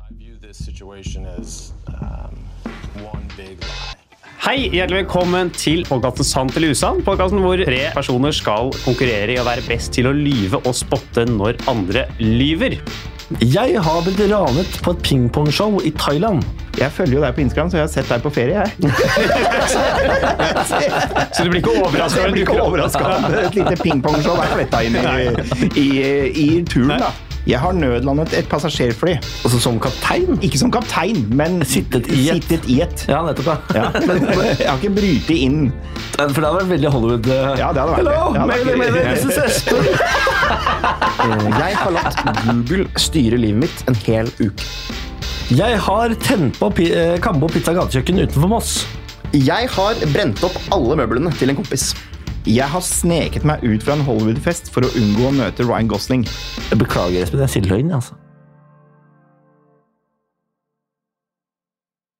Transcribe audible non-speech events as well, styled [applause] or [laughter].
I view this situation as um, one big lie. Hei, hjertelig velkommen til podkasten Sant eller usann. Podkasten hvor tre personer skal konkurrere i å være best til å lyve og spotte når andre lyver. Jeg har blitt ranet på et pingpongshow i Thailand. Jeg følger jo deg på Instagram, så jeg har sett deg på ferie. [laughs] Jeg. Så du blir ikke overraska Jeg når blir du ikke dukker opp? overraska om et lite pingpongshow er fletta inn i, i, i turen. da. Jeg har nødlandet et passasjerfly. Altså som kaptein? Ikke som kaptein, men Sittet i et. sittet i et. Ja, nettopp. Ja. Ja. Men jeg har ikke brytet inn. [laughs] For det hadde vært veldig Hollywood. eh, Ja, det hadde vært Hello, det. Det hadde mayday, vært- mayday, this is Espen. Eh, Jeg har latt Google styre livet mitt en hel uke. Jeg har tent på pi eh, Kambo Pizza gatekjøkken utenfor Moss. Jeg har brent opp alle møblene til en kompis. Jeg har sneket meg ut fra en Hollywood-fest for å unngå å møte Ryan Gosling. Jeg beklager, Espen. Jeg sier løgn. altså.